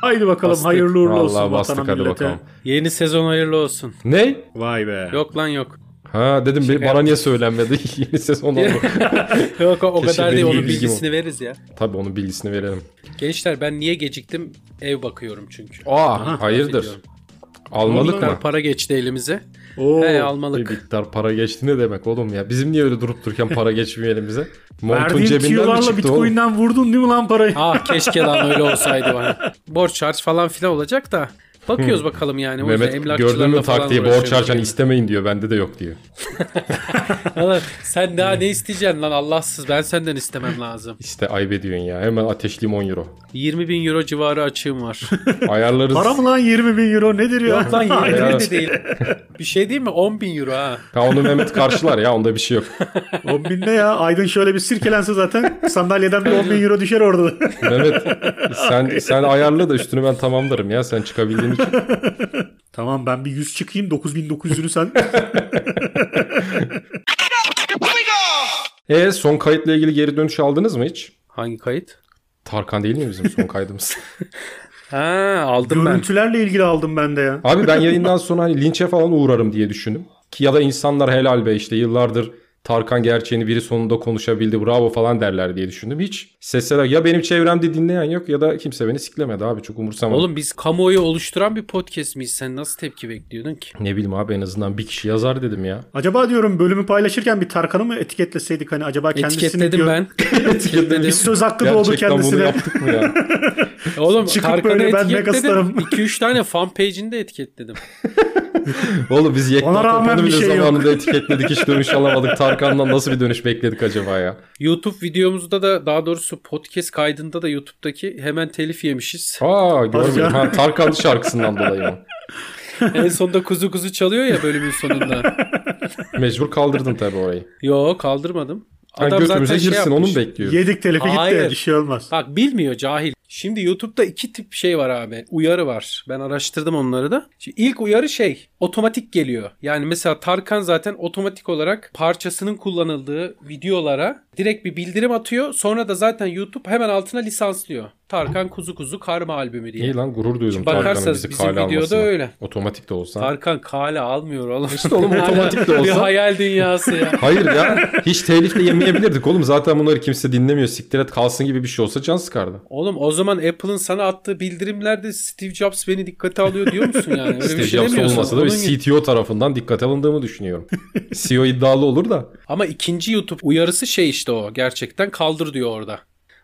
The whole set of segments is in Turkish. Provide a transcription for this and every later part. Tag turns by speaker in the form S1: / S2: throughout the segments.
S1: Haydi bakalım
S2: Bastık.
S1: hayırlı uğurlu
S2: Vallahi
S1: olsun
S2: bastık,
S1: vatana
S2: hadi
S1: millete.
S2: bakalım.
S3: Yeni sezon hayırlı olsun.
S2: Ne?
S1: Vay be.
S3: Yok lan yok.
S2: Ha dedim bir- bana niye söylenmedi? Yeni sezon oldu.
S3: Yok o, o
S2: Keşke
S3: kadar değil
S2: benim
S3: onun
S2: ilgim
S3: bilgisini veririz ya.
S2: Tabii onun bilgisini verelim.
S3: Gençler ben niye geciktim? Ev bakıyorum çünkü.
S2: Aa hayırdır?
S3: Biliyorum.
S2: Almalık
S3: Kadar
S2: mı?
S3: para geçti elimize.
S1: Oo.
S3: He
S2: Bir
S3: almalık.
S2: miktar para geçti ne demek oğlum ya? Bizim niye öyle durup dururken para geçmiyor elimize? Montun
S1: Verdiğin
S2: cebinden mi
S1: tüyolarla
S2: çıktı oğlum?
S1: bitcoin'den vurdun değil mi lan parayı?
S3: Ah keşke lan öyle olsaydı bana. Borç harç falan filan olacak da. Bakıyoruz bakalım yani. O yüzden
S2: Mehmet gördün mü
S3: falan
S2: taktiği borç
S3: uğraşıyoruz
S2: harcan
S3: yani.
S2: istemeyin diyor. Bende de yok diyor.
S3: Valla Sen daha ne isteyeceksin lan Allahsız ben senden istemem lazım.
S2: İşte ayıp ediyorsun ya. Hemen ateşliyim 10 euro.
S3: 20 bin euro civarı açığım var.
S2: Ayarlarız.
S1: Para mı lan 20 bin euro nedir ya?
S3: Yok lan
S1: Haydi.
S3: 20 de değil. Bir şey değil mi? 10 bin euro ha.
S2: Ha onu Mehmet karşılar ya onda bir şey yok.
S1: 10 bin ne ya? Aydın şöyle bir sirkelense zaten sandalyeden bir 10 bin euro düşer orada.
S2: Mehmet sen sen ayarla da üstünü ben tamamlarım ya sen çıkabildiğin için.
S1: tamam ben bir 100 çıkayım 9900'ünü sen.
S2: E son kayıtla ilgili geri dönüş aldınız mı hiç?
S3: Hangi kayıt?
S2: Tarkan değil mi bizim son kaydımız?
S3: Ha aldım ben.
S1: Görüntülerle ilgili aldım ben de ya.
S2: Abi ben yayından sonra hani linçe falan uğrarım diye düşündüm. Ki ya da insanlar helal be işte yıllardır Tarkan gerçeğini biri sonunda konuşabildi bravo falan derler diye düşündüm. Hiç sesler ya benim çevremde dinleyen yok ya da kimse beni siklemedi abi çok umursamadım.
S3: Oğlum biz kamuoyu oluşturan bir podcast miyiz? Sen nasıl tepki bekliyordun ki?
S2: Ne bileyim abi en azından bir kişi yazar dedim ya.
S1: Acaba diyorum bölümü paylaşırken bir Tarkan'ı mı etiketleseydik hani acaba kendisini
S3: Etiketledim
S1: gör-
S3: ben.
S1: Bir
S3: Etiketledim.
S1: söz hakkı doğdu
S2: Gerçekten bunu
S1: kendisine.
S2: yaptık mı ya?
S3: Oğlum
S1: Çıkıp
S3: Tarkan'ı
S1: böyle ben
S3: etiketledim.
S1: megastarım.
S3: 2-3 tane fan page'ini de etiketledim.
S2: Oğlum biz Yekta
S1: Ona rağmen
S2: Tokan'ı
S1: bir
S2: bile
S1: şey yok.
S2: zamanında etiketledik hiç dönüş alamadık. Tarkan'dan nasıl bir dönüş bekledik acaba ya?
S3: YouTube videomuzda da daha doğrusu podcast kaydında da YouTube'daki hemen telif yemişiz.
S2: Aa görmedim.
S1: canım.
S2: Ha, Tarkan şarkısından dolayı mı?
S3: en sonunda kuzu kuzu çalıyor ya bölümün sonunda.
S2: Mecbur kaldırdın tabii orayı.
S3: Yo kaldırmadım.
S2: Adam
S3: Adam zaten
S2: götümüze
S3: şey
S2: girsin
S3: yapmış.
S2: onu mu bekliyor?
S1: Yedik telifi gitti
S3: Hayır.
S1: bir şey olmaz.
S3: Bak bilmiyor cahil. Şimdi YouTube'da iki tip şey var abi. Uyarı var. Ben araştırdım onları da. Şimdi ilk uyarı şey otomatik geliyor. Yani mesela Tarkan zaten otomatik olarak parçasının kullanıldığı videolara direkt bir bildirim atıyor. Sonra da zaten YouTube hemen altına lisanslıyor. Tarkan Kuzu Kuzu Karma albümü diye.
S2: İyi lan gurur duydum
S3: Şimdi
S2: Tarkan'ın
S3: bakarsanız
S2: bizi
S3: bizim
S2: kale
S3: videoda
S2: almasına.
S3: öyle.
S2: Otomatik de olsa.
S3: Tarkan kale almıyor oğlum.
S2: İşte oğlum otomatik de
S3: bir
S2: olsa.
S3: hayal dünyası ya.
S2: Hayır ya hiç telif de yemeyebilirdik oğlum. Zaten bunları kimse dinlemiyor. Siktir et kalsın gibi bir şey olsa can sıkardı.
S3: Oğlum o zaman Apple'ın sana attığı bildirimlerde Steve Jobs beni dikkate alıyor diyor musun yani? Öyle
S2: Steve
S3: bir şey
S2: Jobs
S3: demiyorsun.
S2: olmasa da bir
S3: Onun gibi.
S2: CTO tarafından dikkate alındığımı düşünüyorum. CEO iddialı olur da.
S3: Ama ikinci YouTube uyarısı şey işte o. Gerçekten kaldır diyor orada.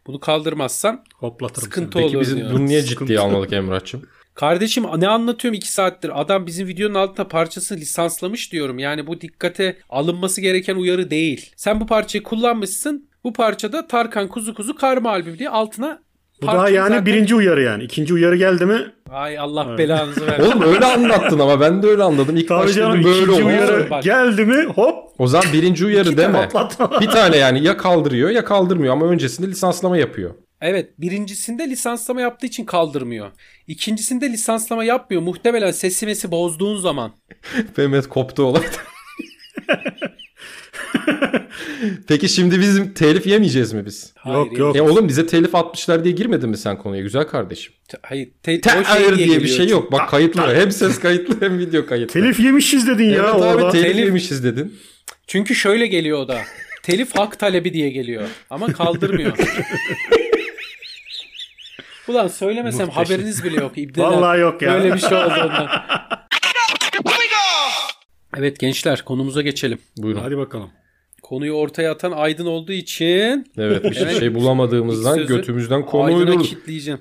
S3: Bunu kaldırmazsan
S1: Hoplatırım
S3: Sıkıntı
S1: seni.
S3: ol-
S2: Peki
S3: Olur
S2: biz
S3: diyor.
S2: bunu niye
S1: Sıkıntı.
S2: ciddiye almadık Emrah'cığım?
S3: kardeşim ne anlatıyorum iki saattir adam bizim videonun altına parçasını lisanslamış diyorum. Yani bu dikkate alınması gereken uyarı değil. Sen bu parçayı kullanmışsın. Bu parçada Tarkan Kuzu Kuzu Karma albümü diye altına
S1: Bu
S3: parçayı
S1: daha yani
S3: zaten-
S1: birinci uyarı yani. İkinci uyarı geldi mi?
S3: Ay Allah
S1: Evet.
S3: belanızı versin.
S2: Oğlum öyle anlattın ama ben de öyle anladım. İlk
S1: Tabii
S2: başta
S1: canım
S2: dedim böyle
S1: ikinci
S2: olmaz.
S1: uyarı
S3: Bak.
S1: geldi mi hop
S2: O zaman birinci uyarı deme.
S1: patlatma.
S2: Bir tane yani ya kaldırıyor ya kaldırmıyor ama öncesinde lisanslama yapıyor.
S3: Evet birincisinde lisanslama yaptığı için kaldırmıyor. İkincisinde lisanslama yapmıyor. Muhtemelen sesi mesi bozduğun zaman.
S2: Mehmet koptu olaydı. Peki şimdi bizim telif yemeyeceğiz mi biz?
S3: Hayır,
S1: yok yok.
S2: E oğlum bize telif atmışlar diye girmedin mi sen konuya güzel kardeşim?
S3: te- Hayır. te-
S2: Te-
S3: o şey
S2: hayır diye, bir
S3: geliyor.
S2: şey yok. Bak kayıtlı. hem ses kayıtlı hem video kayıtlı.
S1: Telif yemişiz dedin
S2: evet
S1: ya
S2: abi
S1: orada.
S2: telif
S3: Telif-
S2: yemişiz dedin.
S3: Çünkü şöyle geliyor o da. Telif hak talebi diye geliyor. Ama kaldırmıyor. Ulan söylemesem haberiniz bile yok. İbneler.
S1: Vallahi yok ya.
S3: Böyle bir şey oldu ondan. Evet gençler konumuza geçelim.
S2: Buyurun.
S1: Hadi bakalım.
S3: Konuyu ortaya atan Aydın olduğu için
S2: Evet bir
S3: Evet.
S2: şey bulamadığımızdan
S3: İlk sözü
S2: götümüzden konu
S3: Aydın'a
S2: uydurduk.
S3: kitleyeceğim.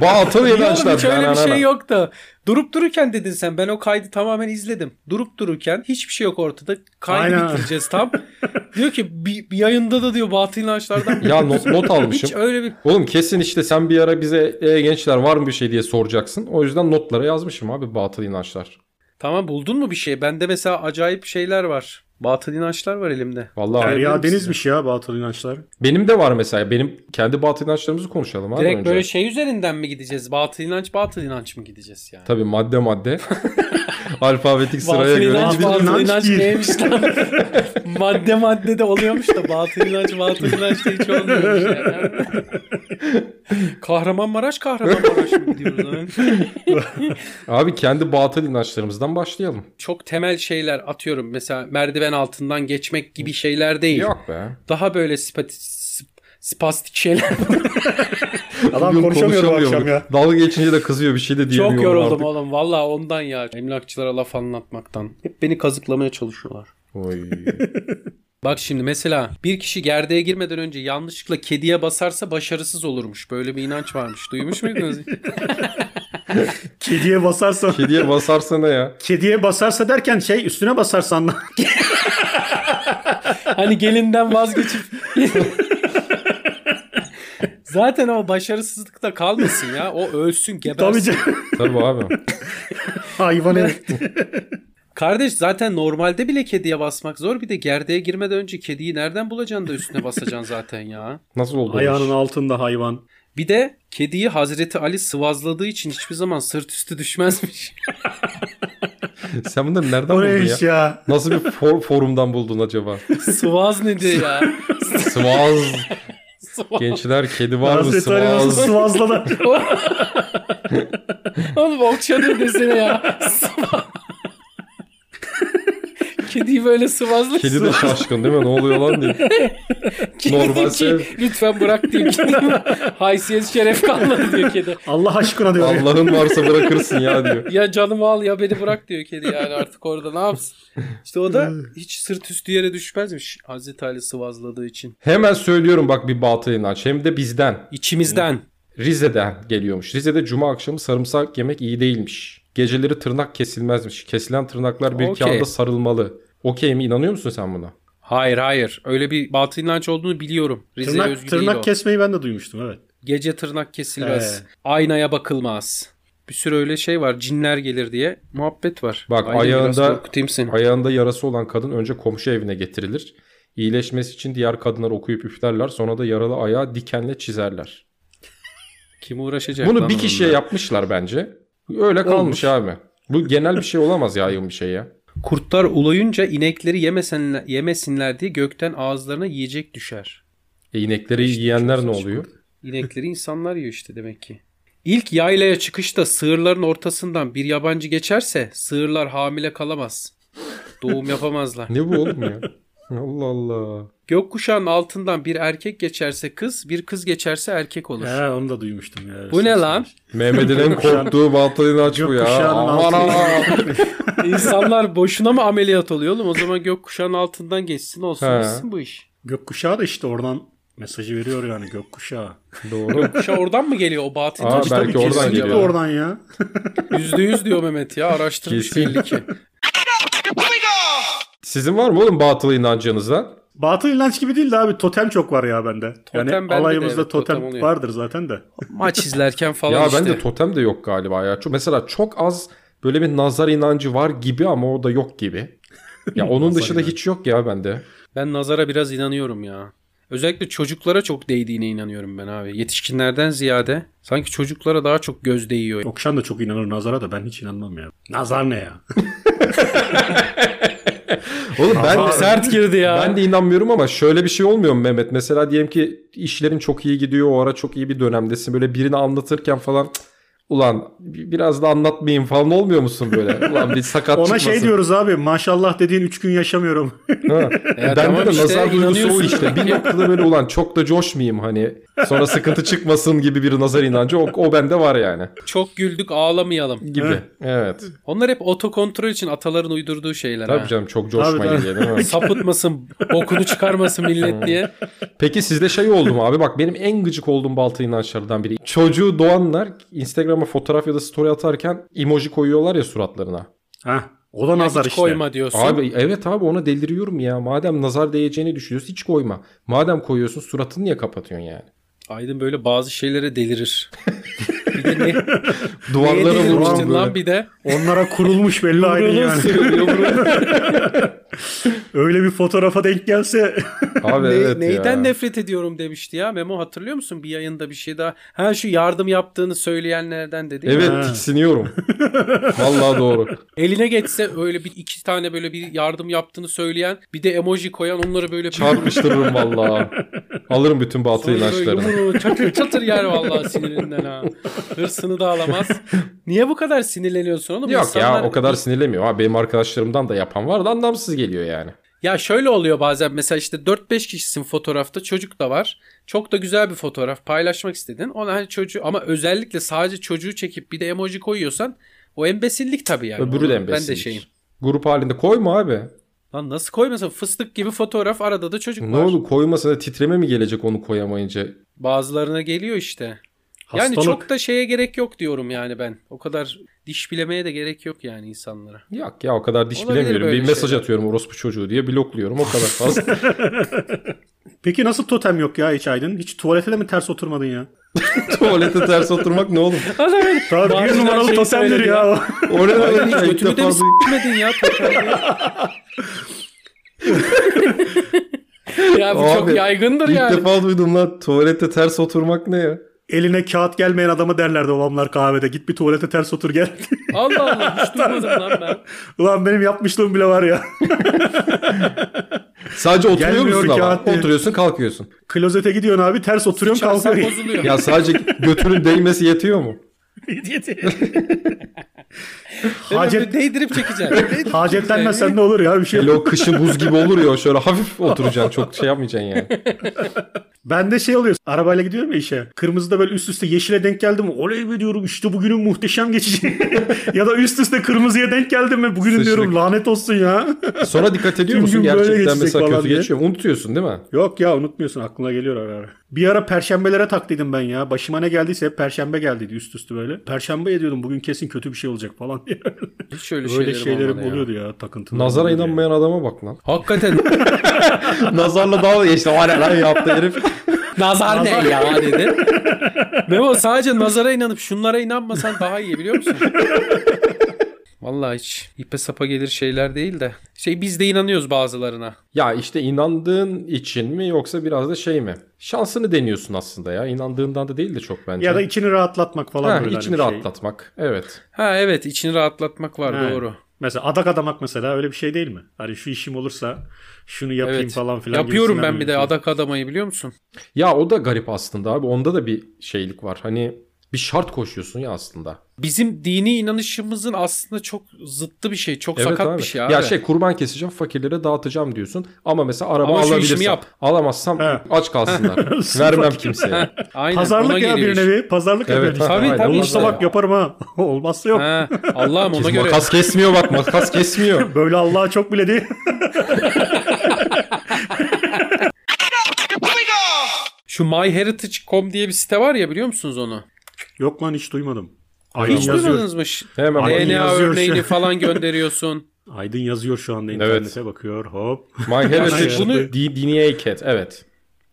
S2: Batıl
S3: Yok
S2: inançlar.
S3: hiç öyle
S2: Na,
S3: bir
S2: na, na.
S3: şey yok da. Durup dururken dedin sen. Ben o kaydı tamamen izledim. Durup dururken hiçbir şey yok ortada. Kaydı
S1: Aynen.
S3: bitireceğiz tam. diyor ki bir, bir yayında da diyor Batıl inançlardan
S2: Ya not, not almışım.
S3: hiç öyle bir
S2: Oğlum kesin işte sen bir ara bize e, gençler var mı bir şey diye soracaksın. O yüzden notlara yazmışım abi batıl inançlar.
S3: Tamam buldun mu bir şey? Bende mesela acayip şeyler var. Batıl inançlar var elimde.
S2: Vallahi abi,
S1: Derya
S3: misin
S1: Deniz'miş ya Batıl İnançlar.
S2: benim de var mesela. Benim kendi batıl inançlarımızı konuşalım abi
S3: Direkt
S2: önce.
S3: böyle şey üzerinden mi gideceğiz? Batıl inanç, batıl inanç mı gideceğiz yani?
S2: Tabii madde madde. Alfabetik sıraya
S3: Batıl
S2: göre
S3: inanç,
S2: gibi.
S1: batıl
S3: batıl
S1: inanç
S3: inanç
S1: değil.
S3: neymiş lan? madde madde de oluyormuş da batıl inanç batıl inanç da hiç olmuyormuş yani. Kahramanmaraş Kahramanmaraş mı gidiyoruz? lan?
S2: Abi kendi batıl inançlarımızdan başlayalım.
S3: Çok temel şeyler atıyorum mesela merdiven altından geçmek gibi şeyler değil.
S2: Yok be.
S3: Daha böyle spati- sp- spastik şeyler.
S1: Adam
S2: Bugün
S1: konuşamıyor bu akşam
S2: konuşamıyor.
S1: ya.
S2: Dalga geçince de kızıyor bir şey de diyemiyor.
S3: Çok yoruldum
S2: artık.
S3: oğlum valla ondan ya. Emlakçılara laf anlatmaktan. Hep beni kazıklamaya çalışıyorlar.
S2: Oy.
S3: Bak şimdi mesela bir kişi gerdeğe girmeden önce yanlışlıkla kediye basarsa başarısız olurmuş. Böyle bir inanç varmış. Duymuş muydunuz?
S1: Kediye basarsa
S2: Kediye basarsana ya.
S1: kediye basarsa derken şey üstüne basarsan lan.
S3: hani gelinden vazgeçip Zaten o başarısızlıkta kalmasın ya. O ölsün, gebersin.
S1: Tabii canım.
S2: Tabii abi.
S1: Hayvan evet.
S3: Kardeş zaten normalde bile kediye basmak zor. Bir de gerdeğe girmeden önce kediyi nereden bulacaksın da üstüne basacaksın zaten ya.
S2: Nasıl oldu? o
S1: Ayağının
S2: iş?
S1: altında hayvan.
S3: Bir de kediyi Hazreti Ali sıvazladığı için hiçbir zaman sırt üstü düşmezmiş.
S2: Sen bunları nereden
S1: O ne
S2: buldun ya?
S1: iş ya?
S2: Nasıl bir for- forumdan buldun acaba?
S3: Sıvaz nedir ya?
S2: Sıvaz.
S3: Sıvaz.
S2: Gençler kedi var mı?
S1: Hazreti Ali nasıl
S2: Sıvaz.
S1: sıvazladı?
S3: Oğlum okşadı desene ya. Sıva- Kediyi böyle sıvazla.
S2: Kedi de şaşkın değil mi? Ne oluyor lan diye.
S3: Kedi diyor
S2: normal
S3: ki,
S2: şey.
S3: Lütfen bırak diyor kedi. Haysiyet şeref kalmadı diyor kedi.
S1: Allah aşkına diyor. ya.
S2: Allah'ın varsa bırakırsın ya diyor.
S3: Ya canımı al ya beni bırak diyor kedi yani artık orada ne yapsın. İşte o da hiç sırt üstü yere düşmezmiş Hazreti Ali sıvazladığı için.
S2: Hemen söylüyorum bak bir batıl inanç. Hem de bizden.
S3: İçimizden.
S2: Rize'den geliyormuş. Rize'de cuma akşamı sarımsak yemek iyi değilmiş. Geceleri tırnak kesilmezmiş. Kesilen tırnaklar bir
S3: Okey.
S2: kağıda sarılmalı. Okey mi? İnanıyor musun sen buna?
S3: Hayır hayır öyle bir batıl inanç olduğunu biliyorum. Rize'ye
S1: Tırnak,
S3: özgü değil o.
S1: tırnak kesmeyi ben de duymuştum evet.
S3: Gece tırnak kesilmez. Aynaya bakılmaz. Bir sürü öyle şey var. Cinler gelir diye muhabbet var.
S2: Bak,
S3: Haydi
S2: ayağında-
S3: biraz korkutayım seni.
S2: Ayağında yarası olan kadın önce komşu evine getirilir. İyileşmesi için diğer kadınlar okuyup üflerler. Sonra da yaralı ayağı dikenle çizerler.
S3: Kim uğraşacak?
S2: Bunu
S3: lan
S2: bir kişiye
S3: onunla?
S2: yapmışlar bence. Öyle kalmış abi. Bu genel bir şey olamaz yaygın bir şey ya.
S3: Kurtlar uluyunca inekleri yemesinler, yemesinler diye gökten ağızlarına yiyecek düşer.
S2: E inekleri yiyenler ne oluyor?
S3: İnekleri insanlar yiyor işte demek ki. İlk yaylaya çıkışta sığırların ortasından bir yabancı geçerse sığırlar hamile kalamaz. Doğum yapamazlar.
S2: Ne bu oğlum ya? Allah Allah.
S3: Gökkuşağın altından bir erkek geçerse kız, bir kız geçerse erkek olur.
S1: He onu da duymuştum ya.
S3: Bu ne lan?
S2: Mehmet'in en korktuğu batıl inanç bu ya.
S1: Gökkuşağının
S2: Aman
S1: altı-
S2: ha.
S3: İnsanlar boşuna mı ameliyat oluyor oğlum? O zaman gökkuşağın altından geçsin olsun
S2: He.
S3: gitsin bu iş.
S1: Gökkuşağı da işte oradan mesajı veriyor yani gökkuşağı.
S2: Doğru.
S3: Gökkuşağı oradan mı geliyor o batıl?
S2: Aa,
S3: inanç?
S2: Belki
S1: Tabii
S2: oradan
S1: kesinlikle
S2: geliyor.
S1: oradan ya.
S3: Yüzde yüz diyor Mehmet ya araştırmış
S2: Kesin.
S3: belli ki.
S2: Sizin var mı oğlum batıl inancınızdan?
S1: Batıl inanç gibi değil de abi totem çok var ya bende. yani
S3: Totem bende de
S1: alayımızda
S3: evet,
S1: totem,
S3: totem oluyor.
S1: vardır zaten de.
S3: Maç izlerken falan
S2: ya
S3: işte.
S2: bende totem de yok galiba ya. Çok, mesela çok az böyle bir nazar inancı var gibi ama o da yok gibi. Ya onun
S1: Nazar
S2: dışında
S1: inancı.
S2: hiç yok ya bende.
S3: Ben nazara biraz inanıyorum ya. Özellikle çocuklara çok değdiğine inanıyorum ben abi. Yetişkinlerden ziyade sanki çocuklara daha çok göz değiyor.
S1: Okşan da çok inanır nazara da ben hiç inanmam ya. Nazar ne ya?
S2: Oğlum ben de,
S3: Sert girdi ya.
S2: ben de inanmıyorum ama şöyle bir şey olmuyor mu Mehmet? Mesela diyelim ki işlerin çok iyi gidiyor o ara çok iyi bir dönemdesin. Böyle birini anlatırken falan "Cık, ulan bi- biraz da anlatmayayım falan olmuyor musun böyle? Ulan bir sakat
S1: Ona
S2: çıkmasın.
S1: şey diyoruz abi maşallah dediğin 3 gün yaşamıyorum.
S2: Ha.
S3: Ya
S2: ben
S3: tamam
S2: de
S3: işte,
S2: nazar duygusu o
S3: inanıyorsun.
S2: işte. Bir noktada böyle ulan çok da coşmayayım hani. Sonra sıkıntı çıkmasın gibi bir nazar inancı. O, o bende var yani.
S3: Çok güldük ağlamayalım.
S2: Gibi.
S1: Evet.
S2: evet.
S3: Onlar hep otokontrol için ataların uydurduğu şeyler. ha.
S2: Tabii canım çok coşmayın
S1: Tabii,
S2: diye değil mi?
S3: sapıtmasın, bokunu çıkarmasın millet diye.
S2: Peki sizde şey oldu mu abi? Bak benim en gıcık olduğum baltı inançlardan biri. Çocuğu doğanlar Instagram'a fotoğraf ya da story atarken emoji koyuyorlar ya suratlarına.
S1: Hah, o da
S3: Ya
S1: nazar
S3: hiç
S1: işte.
S3: koyma diyorsun.
S2: Abi evet abi ona deliriyorum ya. Madem nazar değeceğini düşünüyorsun hiç koyma. Madem koyuyorsun suratını niye kapatıyorsun yani?
S3: Aydın böyle bazı şeylere delirir. bir de ne, neye
S2: Duvarlara vuran
S3: delirmiştin
S2: böyle.
S3: lan bir de?
S1: Onlara kurulmuş belli aynı
S3: Yumruğunu
S1: yani.
S3: ısırıyor, yumruğunu.
S1: Öyle bir fotoğrafa denk gelse
S2: Abi
S3: Ne-
S2: evet
S3: neyden
S2: ya.
S3: nefret ediyorum demişti ya. Memo hatırlıyor musun bir yayında bir şey daha. Ha şu yardım yaptığını söyleyenlerden dedi. ya.
S2: Evet
S1: Ha.
S2: tiksiniyorum. Vallahi doğru.
S3: Eline geçse öyle bir iki tane böyle bir yardım yaptığını söyleyen bir de emoji koyan onları böyle
S2: Çarpıştırırım vallahi. Alırım bütün batı
S3: Sonra böyle
S2: inançlarını.
S3: yumruğu çatır çatır yer vallahi sinirinden ha. Hırsını da alamaz. Niye bu kadar sinirleniyorsun oğlum?
S2: Yok
S3: İnsanlar-
S2: ya o kadar sinirlemiyor. Ha, benim arkadaşlarımdan da yapan var da anlamsız geliyor yani.
S3: Ya şöyle oluyor bazen mesela işte 4-5 kişisin fotoğrafta çocuk da var. Çok da güzel bir fotoğraf paylaşmak istedin. Ona hani çocuğu ama özellikle sadece çocuğu çekip bir de emoji koyuyorsan o embesillik tabii yani.
S2: Öbürü de
S3: Ben
S2: embesillik.
S3: de şeyim.
S2: Grup halinde koyma abi.
S3: Lan nasıl koymasın fıstık gibi fotoğraf arada da çocuk
S2: Ne
S3: var.
S2: olur koymasına titreme mi gelecek onu koyamayınca?
S3: Bazılarına geliyor işte.
S1: hastalık.
S3: Yani çok da şeye gerek yok diyorum yani ben. O kadar diş bilemeye de gerek yok yani insanlara.
S2: Yok ya o kadar diş
S3: Olabilir
S2: bilemiyorum. Bir
S3: böyle
S2: mesaj
S3: şeyler.
S2: atıyorum orospu çocuğu diye blokluyorum o kadar fazla.
S1: Peki nasıl totem yok ya hiç Aydın? Hiç tuvalete de mi ters oturmadın ya?
S2: Tuvalete ters oturmak ne oğlum?
S1: Tabii
S3: Bazen
S1: bir numaralı
S3: şey
S1: totemdir
S3: söyledi
S1: ya. o.
S2: Oraya
S3: Hayır,
S2: ilk
S3: hiç götümü de
S2: defa
S3: mi
S2: duy-
S3: s**medin ya totemde? ya bu çok
S2: Abi,
S3: yaygındır
S2: İlk
S3: yani.
S2: defa duydum lan tuvalete ters oturmak ne ya?
S1: Eline kağıt gelmeyen adama derlerdi babamlar kahvede. Git bir tuvalete ters otur gel.
S3: Allah Allah hiç duymadım lan ben.
S1: Ulan benim yapmışlığım bile var ya.
S2: Sadece oturuyor
S1: Gelmiyor
S2: musun ama?
S1: kağıt diye.
S2: Oturuyorsun kalkıyorsun.
S1: Klozete gidiyorsun abi ters oturuyorsun
S3: Şanslar
S1: kalkıyorsun.
S3: bozuluyor.
S2: Ya sadece götünün değmesi yetiyor mu?
S1: Hacet,
S3: Değdirip çekeceksin. Değdirip
S1: hacetlenmezsen
S3: çekeceksin.
S1: ne olur ya bir şey yok.
S2: Hele o kışı buz gibi olur ya şöyle hafif oturacaksın çok şey yapmayacaksın yani.
S1: Bende şey oluyor. Arabayla gidiyorum ya işe. Kırmızıda böyle üst üste yeşile denk geldim. Oley be diyorum işte bugünün muhteşem geçeceği. ya da üst üste kırmızıya denk geldim mi bugünün
S2: Sıçtık.
S1: diyorum lanet olsun ya.
S2: Sonra dikkat ediyor
S1: Tüm
S2: musun
S1: gün böyle
S2: gerçekten
S1: geçecek
S2: mesela
S1: falan
S2: kötü
S1: diye.
S2: geçiyor mu? Unutuyorsun değil mi?
S1: Yok ya unutmuyorsun aklına geliyor ara ara. Bir ara perşembelere taktıydım ben ya. Başıma ne geldiyse hep perşembe geldiydi üst üste böyle. Perşembe ediyordum bugün kesin kötü bir şey olacak falan diye.
S3: Hiç öyle,
S1: Böyle
S3: şeylerim,
S1: şeylerim
S3: olmadı ya.
S1: oluyordu ya, takıntılar.
S2: Nazara
S1: oluyordu ya.
S2: inanmayan adama bak lan.
S3: Hakikaten
S2: Nazarla dalga geçti. O ne lan yaptı herif.
S3: nazar ne ya dedi. Memo sadece nazara inanıp şunlara inanmasan daha iyi biliyor musun? Vallahi hiç ipe sapa gelir şeyler değil de. Şey biz de inanıyoruz bazılarına.
S2: Ya işte inandığın için mi yoksa biraz da şey mi? Şansını deniyorsun aslında ya. İnandığından da değil de çok bence.
S1: Ya da içini rahatlatmak falan
S2: Ha,
S1: böyle. hani
S2: içini
S1: bir şey.
S2: rahatlatmak. Evet.
S3: Ha evet içini rahatlatmak var
S1: Ha.
S3: doğru.
S1: Mesela adak adamak mesela öyle bir şey değil mi? Hani şu işim olursa şunu yapayım
S3: Evet.
S1: falan filan.
S3: Yapıyorum
S1: gibisinden
S3: ben bir de
S1: böyle.
S3: adak adamayı biliyor musun?
S2: Ya o da garip aslında abi. Onda da bir şeylik var. Hani bir şart koşuyorsun ya aslında.
S3: Bizim dini inanışımızın aslında çok zıttı bir şey. Çok
S2: Evet
S3: sakat
S2: abi.
S3: bir şey abi.
S2: Ya şey kurban keseceğim fakirlere dağıtacağım diyorsun. Ama mesela araba
S3: Ama şu işimi
S2: alabilirsem.
S3: yap.
S2: Alamazsam
S1: He.
S2: aç kalsınlar. Vermem
S1: Fakir.
S2: kimseye.
S3: Ha, aynen, ona
S1: Pazarlık ya
S3: geliyor
S1: bir
S3: iş.
S1: nevi. Pazarlık
S2: Evet,
S1: evet,
S2: tabii,
S1: yapıyorsun.
S2: tabii.
S1: Olursa
S2: Olmaz
S1: bak
S2: ya.
S1: yaparım ha. Olmazsa yok.
S3: Ha, Allah'ım ona göre.
S2: makas kesmiyor bak makas kesmiyor.
S1: Böyle Allah'a çok bile değil.
S3: Şu MyHeritage.com diye bir site var ya biliyor musunuz onu?
S1: yok lan hiç duymadım. Aydın
S2: Hiç
S3: Hiç
S1: yazıyor.
S3: duymadınız mı?
S2: Hemen
S1: Ay,
S2: bak.
S3: DNA
S1: yazıyor şu
S3: örneğini
S1: an.
S3: falan gönderiyorsun.
S1: Aydın yazıyor şu anda
S2: Evet.
S1: internete bakıyor. Hop.
S2: My Heritage
S3: bunu-
S2: di- DNA Cat. Evet.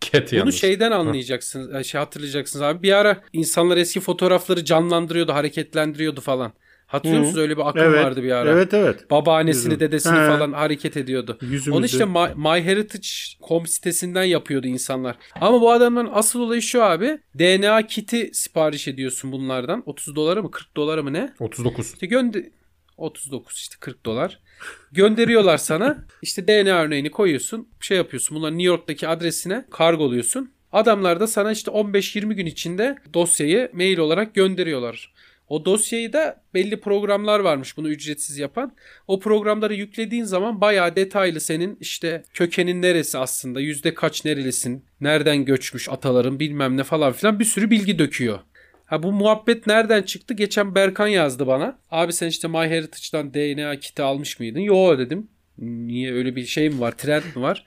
S2: Cat
S3: Bunu şey
S2: yalnız.
S3: şeyden anlayacaksınız, e, şey hatırlayacaksınız abi. Bir ara insanlar eski fotoğrafları canlandırıyordu, hareketlendiriyordu falan. Hatırlıyor
S1: Hı.
S3: musunuz öyle bir akım
S1: Evet.
S3: vardı bir ara.
S1: Evet evet.
S3: Babaannesini,
S1: Yüzüm.
S3: dedesini
S1: He.
S3: falan hareket ediyordu.
S1: Yüzümüzü.
S3: Onu işte My- MyHeritage.com sitesinden yapıyordu insanlar. Ama bu adamların asıl olayı şu abi. DNA kiti sipariş ediyorsun bunlardan. 30 dolara mı 40 dolara mı ne?
S2: 39.
S3: İşte gönder 39 işte 40 dolar. Gönderiyorlar sana. İşte DNA örneğini koyuyorsun. Şey yapıyorsun. Bunları New York'taki adresine kargoluyorsun. Adamlar da sana işte 15-20 gün içinde dosyayı mail olarak gönderiyorlar. O dosyayı da belli programlar varmış bunu ücretsiz yapan. O programları yüklediğin zaman bayağı detaylı senin işte kökenin neresi aslında, yüzde kaç nerelisin, nereden göçmüş ataların bilmem ne falan filan bir sürü bilgi döküyor. Ha bu muhabbet nereden çıktı? Geçen Berkan yazdı bana. Abi sen işte MyHeritage'dan DNA kiti almış mıydın? Yo dedim. Niye öyle bir şey mi var? Trend mi var?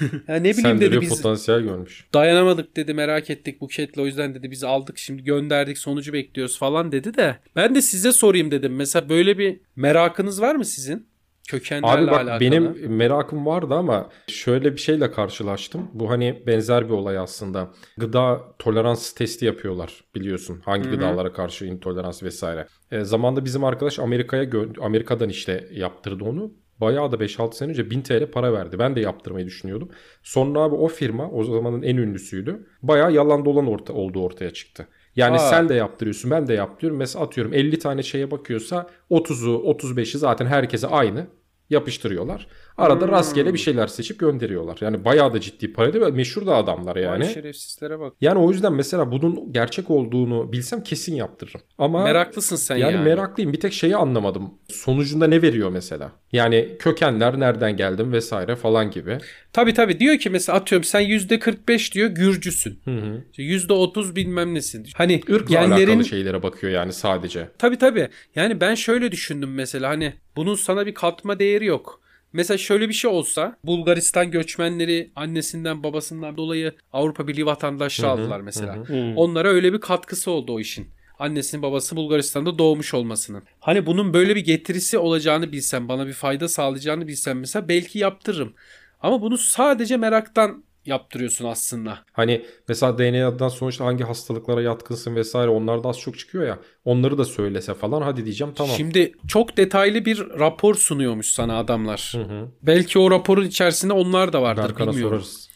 S3: Ya ne bileyim
S2: Sen de
S3: dedi
S2: bir
S3: biz
S2: potansiyel görmüş.
S3: dayanamadık dedi merak ettik buketle o yüzden dedi biz aldık şimdi gönderdik sonucu bekliyoruz falan dedi de ben de size sorayım dedim. Mesela böyle bir merakınız var mı sizin? Kökenlerle
S2: Abi bak
S3: alakalı.
S2: benim merakım vardı ama şöyle bir şeyle karşılaştım. Bu hani benzer bir olay aslında. Gıda tolerans testi yapıyorlar biliyorsun. Hangi gıdalara karşı intolerans vesaire. E, zamanda bizim arkadaş Amerika'ya gö- Amerika'dan işte yaptırdı onu. Bayağı da 5-6 sene önce 1000 TL para verdi. Ben de yaptırmayı düşünüyordum. Sonra abi o firma o zamanın en ünlüsüydü. Bayağı yalan dolan orta, olduğu ortaya çıktı. Yani
S3: Aa.
S2: sen de yaptırıyorsun ben de yaptırıyorum. Mesela atıyorum 50 tane şeye bakıyorsa 30'u 35'i zaten herkese aynı yapıştırıyorlar. Arada
S3: Hmm.
S2: rastgele bir şeyler seçip gönderiyorlar. Yani bayağı da ciddi para değil mi? Meşhur da adamlar yani.
S3: Vay şerefsizlere bak.
S2: Yani o yüzden mesela bunun gerçek olduğunu bilsem kesin yaptırırım. Ama
S3: Meraklısın sen
S2: yani,
S3: yani.
S2: meraklıyım. Bir tek şeyi anlamadım. Sonucunda ne veriyor mesela? Yani kökenler nereden geldim vesaire falan gibi.
S3: Tabii tabii diyor ki mesela atıyorum sen %45 diyor Gürcüsün.
S2: Hı hı.
S3: İşte %30 bilmem nesin. Hani
S2: Irkla
S3: genlerin
S2: alakalı şeylere bakıyor yani sadece.
S3: Tabii tabii. Yani ben şöyle düşündüm mesela hani bunun sana bir katma değeri yok. Mesela şöyle bir şey olsa Bulgaristan göçmenleri annesinden babasından dolayı Avrupa Birliği vatandaşlığı
S2: Hı hı,
S3: aldılar mesela.
S2: hı hı.
S1: Hmm.
S3: Onlara öyle bir katkısı oldu o işin. Annesinin babası Bulgaristan'da doğmuş olmasının. Hani bunun böyle bir getirisi olacağını bilsem, bana bir fayda sağlayacağını bilsem mesela belki yaptırırım. Ama bunu sadece meraktan yaptırıyorsun aslında.
S2: Hani mesela DNA'dan sonuçta hangi hastalıklara yatkınsın vesaire onlar da az çok çıkıyor ya. Onları da söylese falan hadi diyeceğim tamam.
S3: Şimdi çok detaylı bir rapor sunuyormuş sana adamlar.
S2: Hı hı.
S3: Belki o raporun içerisinde onlar da vardır
S2: Berkan'a
S3: bilmiyorum.
S2: sorarız.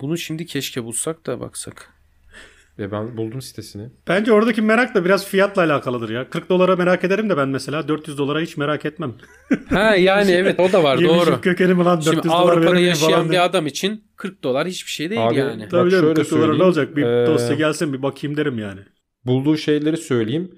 S3: Bunu şimdi keşke bulsak da baksak.
S2: Ve ben buldum sitesini.
S1: Bence oradaki merak da biraz fiyatla alakalıdır ya. 40 dolara merak ederim de ben mesela 400 dolara hiç merak etmem.
S3: Ha yani evet o da var
S1: Yemişim
S3: doğru.
S1: kökenimi lan 400
S3: Şimdi
S1: dolar
S3: Avrupa'da
S1: veremeyiz
S3: yaşayan
S1: falan diye.
S3: bir adam için 40 dolar hiçbir şey değil
S2: Abi,
S3: yani.
S2: Bak
S1: Tabii canım
S2: şöyle
S1: 40 dolara ne
S2: söyleyeyim.
S1: olacak? Bir
S2: Ee,
S1: dosya gelsin bir bakayım derim yani.
S2: Bulduğu şeyleri söyleyeyim.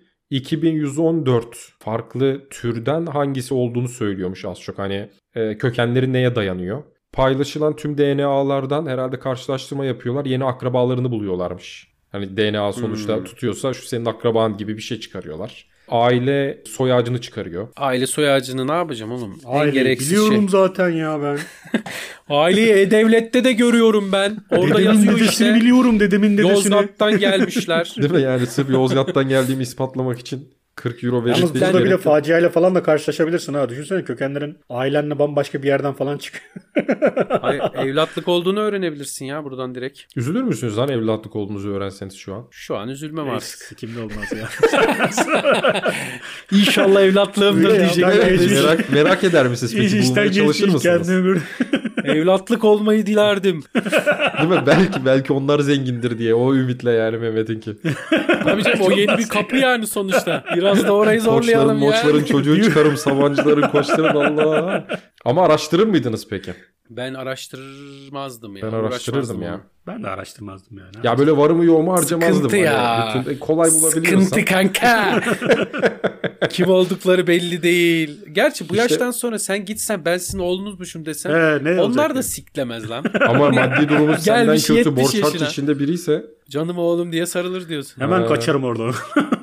S2: 2114 farklı türden hangisi olduğunu söylüyormuş az çok. Hani e, kökenleri neye dayanıyor? Paylaşılan tüm DNA'lardan herhalde karşılaştırma yapıyorlar. Yeni akrabalarını buluyorlarmış. Hani DNA sonuçta
S3: Hmm.
S2: tutuyorsa şu senin akraban gibi bir şey çıkarıyorlar. Aile soy ağacını çıkarıyor.
S3: Aile soy ağacını ne yapacağım oğlum? en
S1: Aile
S3: gereksiz
S1: biliyorum
S3: şey.
S1: zaten ya ben.
S3: Aileyi e-devlette de görüyorum ben. Orada
S1: dedemin
S3: yazıyor
S1: dedesini
S3: işte.
S1: biliyorum dedemin dedesini.
S3: Yozgat'tan gelmişler.
S2: Değil mi? Yani sırf Yozgat'tan geldiğimi ispatlamak için 40 euro verip
S1: Yalnız
S2: de
S1: burada
S2: gerek
S1: bile
S2: yok.
S1: faciayla falan da karşılaşabilirsin ha. Düşünsene kökenlerin ailenle bambaşka bir yerden falan çıkıyor.
S3: Hayır, evlatlık olduğunu öğrenebilirsin ya buradan direkt.
S2: Üzülür müsünüz lan evlatlık olduğunuzu öğrenseniz şu an?
S3: Şu an üzülmem artık.
S1: Sikimde olmaz ya.
S3: İnşallah evlatlığımdır
S1: Öyle ya,
S3: diyecek.
S1: ben de-
S2: merak, merak eder misiniz
S1: İş
S2: peki?
S1: işten
S2: Bulmaya çalışır
S1: geçti
S2: mısınız?
S1: kendimi böyle.
S3: Evlatlık olmayı dilerdim.
S2: Değil mi? Belki belki onlar zengindir diye o ümitle yani Mehmet'inki.
S3: Tabii canım o yeni bir kapı yani sonuçta. Biraz da orayı
S2: Koçların,
S3: zorlayalım ya.
S2: moçların çocuğu çıkarım, sabancıların, koçların Allah. Ama araştırır mıydınız peki?
S3: Ben araştırmazdım ya.
S2: Ben
S3: uğraşmazdım
S2: araştırırdım ya.
S3: ona.
S1: Ben de araştırmazdım yani.
S2: Ya böyle var mı yok mu harcamazdım.
S3: Sıkıntı
S2: Hani
S3: ya.
S2: bütün- e, kolay bulabiliyorsan.
S3: Sıkıntı kanka. Kim oldukları belli değil. Gerçi bu
S2: İşte-
S3: yaştan sonra sen gitsen ben sizin oğlunuzmuşum desem.
S1: Ee, ne olacak
S3: onlar da
S1: yani?
S3: siklemez lan.
S2: Ama maddi durumu senden
S3: Gelmiş
S2: kötü
S3: 70
S2: borç harç
S3: yaşına.
S2: içinde biriyse
S3: Canım oğlum diye sarılır diyorsun.
S1: Hemen
S2: Ha.
S1: kaçarım oradan.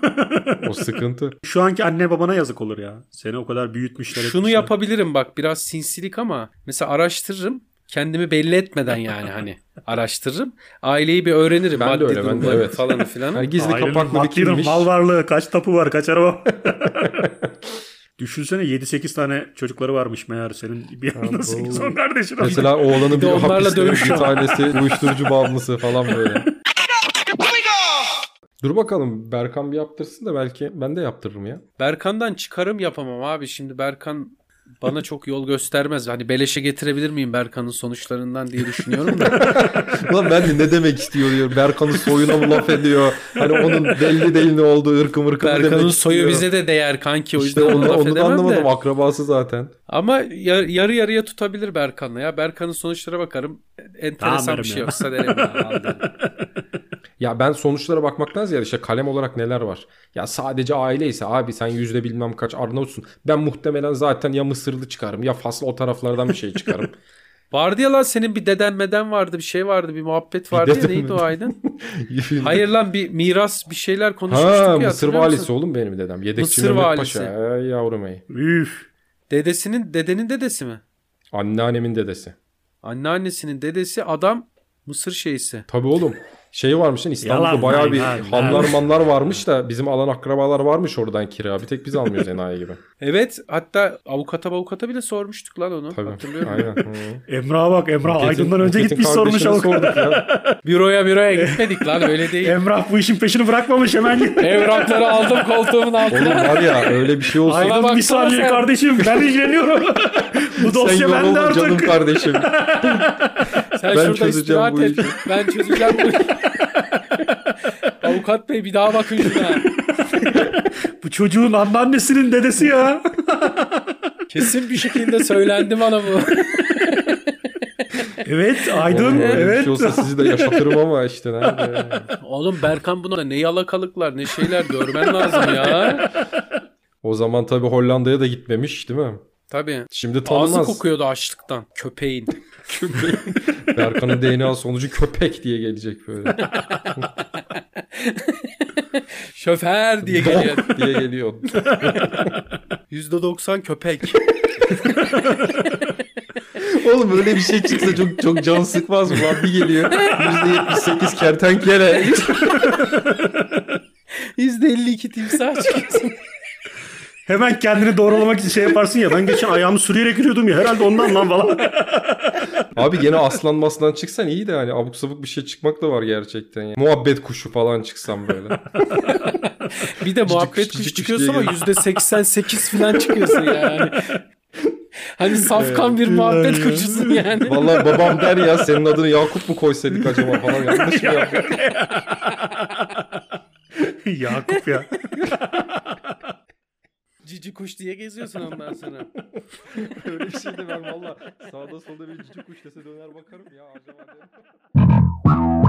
S2: o sıkıntı.
S1: Şu anki anne babana yazık olur ya. Seni o kadar büyütmüşler.
S3: Şunu
S1: etmişler.
S3: yapabilirim bak biraz sinsilik ama mesela araştırırım. Kendimi belli etmeden yani hani araştırırım. Aileyi bir öğrenirim.
S2: Ben de
S3: maddi
S2: öyle, ben de,
S3: durumları
S2: evet.
S3: Falanı filanı.
S2: Yani gizli
S1: Ailenin
S2: kapaklı bir
S1: maddi durum,
S2: kimmiş.
S1: Mal varlığı kaç tapu var kaç araba. var. Düşünsene 7-8 tane çocukları varmış meğer senin bir yandan
S2: bu-
S1: 8-10 kardeşin olmuş.
S2: Mesela oğlanın bir
S3: de onlarla
S2: hapiste
S3: dövüş
S2: bir tanesi uyuşturucu bağımlısı falan böyle. Dur bakalım Berkan bir yaptırsın da belki ben de yaptırırım ya.
S3: Berkan'dan çıkarım yapamam abi. Şimdi Berkan bana çok yol göstermez. Hani beleşe getirebilir miyim Berkan'ın sonuçlarından diye düşünüyorum da.
S2: Ulan ben de ne demek istiyor diyor. Berkan'ın soyuna mı laf ediyor? Hani onun belli değil ne olduğu ırkı mırkı mı
S3: Berkan'ın
S2: demek
S3: soyu
S2: istiyor?
S3: bize de değer kanki. O yüzden
S2: İşte
S3: onu,
S2: onu,
S3: laf
S2: onu da
S3: edemem
S2: anlamadım.
S3: de.
S2: Akrabası zaten.
S3: Ama yar- yarı yarıya tutabilir Berkan'la ya. Berkan'ın sonuçlara bakarım. Enteresan
S1: Tamam
S3: bir şey
S1: ya.
S3: yoksa derim. ya, al derim.
S2: Ya ben sonuçlara bakmaktan ziyade işte kalem olarak neler var. Ya sadece aile ise abi sen yüzde bilmem kaç Arnavutsun. Ben muhtemelen zaten ya Mısırlı çıkarım ya Faslı o taraflardan bir şey çıkarım.
S3: Vardı ya lan senin bir deden meden vardı bir şey vardı bir muhabbet vardı ya
S2: deden
S3: neydi
S2: mi?
S3: o Aydın? Hayır lan bir miras bir şeyler konuşmuştuk ya.
S2: Ha Mısır
S3: hatırlıyor
S2: valisi
S3: musun?
S2: oğlum benim dedem. Yedekçi
S3: Mısır
S2: Mehmet
S3: valisi.
S2: Paşa. Ey yavrum ey.
S1: Üf.
S3: Dedesinin dedenin dedesi mi?
S2: Anneannemin dedesi.
S3: Anneannesinin dedesi adam Mısır şeysi.
S2: Tabii oğlum. Şey varmış lan İstanbul'da
S1: Yalan,
S2: bayağı
S1: lan,
S2: bir
S1: lan,
S2: hanlar
S1: lan.
S2: manlar varmış da bizim alan akrabalar varmış oradan kira. Bir tek biz almıyoruz enayi gibi.
S3: Evet hatta avukata avukata bile sormuştuk lan onu.
S2: Tabii.
S3: Hatırlıyorum.
S2: Aynen. Hı.
S1: Emrah'a bak Emrah
S2: Buket'in-
S1: Aydın'dan önce
S2: Buket'in
S1: gitmiş sormuş
S2: kardeşine
S1: avukata.
S2: sorduk ya.
S3: Büroya büroya gitmedik lan öyle değil.
S1: Emrah bu işin peşini bırakmamış hemen gitti.
S3: Evrakları aldım koltuğumun
S2: Oğlum
S3: altına.
S2: var ya öyle bir şey olsa
S3: Aynen.
S1: Aydın
S3: baksana
S1: bir saniye
S3: sen.
S1: kardeşim ben ilgileniyorum. bu dosya
S2: sen
S1: bende
S2: yorulma canım
S1: artık.
S2: kardeşim.
S3: Sen
S2: Ben
S3: şurada
S2: çözeceğim
S3: istirahat
S2: bu
S3: et.
S2: işi.
S3: Ben çözeceğim bu işi. Avukat bey bir daha bakın şuna.
S1: Bu çocuğun anneannesinin dedesi ya.
S3: Kesin bir şekilde söylendi bana bu.
S1: evet
S2: Oğlum
S1: Aydın
S2: öyle Bir
S1: evet.
S2: şey olsa sizi de yaşatırım ama işte nerede?
S3: Oğlum Berkan buna ne yalakalıklar ne şeyler görmen lazım ya.
S2: O zaman tabii Hollanda'ya da gitmemiş değil mi?
S3: Tabii.
S2: Şimdi tanımaz.
S3: Ağzı kokuyordu açlıktan. Köpeğin.
S2: Berkan'ın DNA sonucu köpek diye gelecek böyle.
S3: Şoför diye geliyor.
S2: Dok diye geliyor.
S3: %90 köpek.
S2: Oğlum öyle bir şey çıksa çok çok can sıkmaz mı lan? Bir geliyor. %78 kertenkele.
S3: %52 timsah çıkıyorsun.
S1: Hemen kendini doğrulamak için şey yaparsın ya. Ben geçen ayağımı sürüyerek yürüyordum ya. Herhalde ondan lan falan.
S2: Abi gene aslan maslan çıksan iyi de hani abuk sabuk bir şey çıkmak da var gerçekten. ya. Muhabbet kuşu falan çıksan böyle.
S3: Bir de
S2: Cicik,
S3: muhabbet
S2: cicik,
S3: kuş
S2: cicik
S3: çıkıyorsa
S2: diye
S3: ama %88 falan çıkıyorsun yani. Hani safkan bir
S1: Evet,
S3: muhabbet
S1: billahi ya.
S3: kuşusun yani.
S2: Vallahi babam der ya senin adını Yakup mu koysaydık acaba falan yanlış mı yaptık?
S1: Yakup ya.
S3: Cici kuş diye geziyorsun ondan sonra.
S2: Öyle bir şey de ben valla sağda solda bir cici kuş dese döner bakarım ya acaba derim.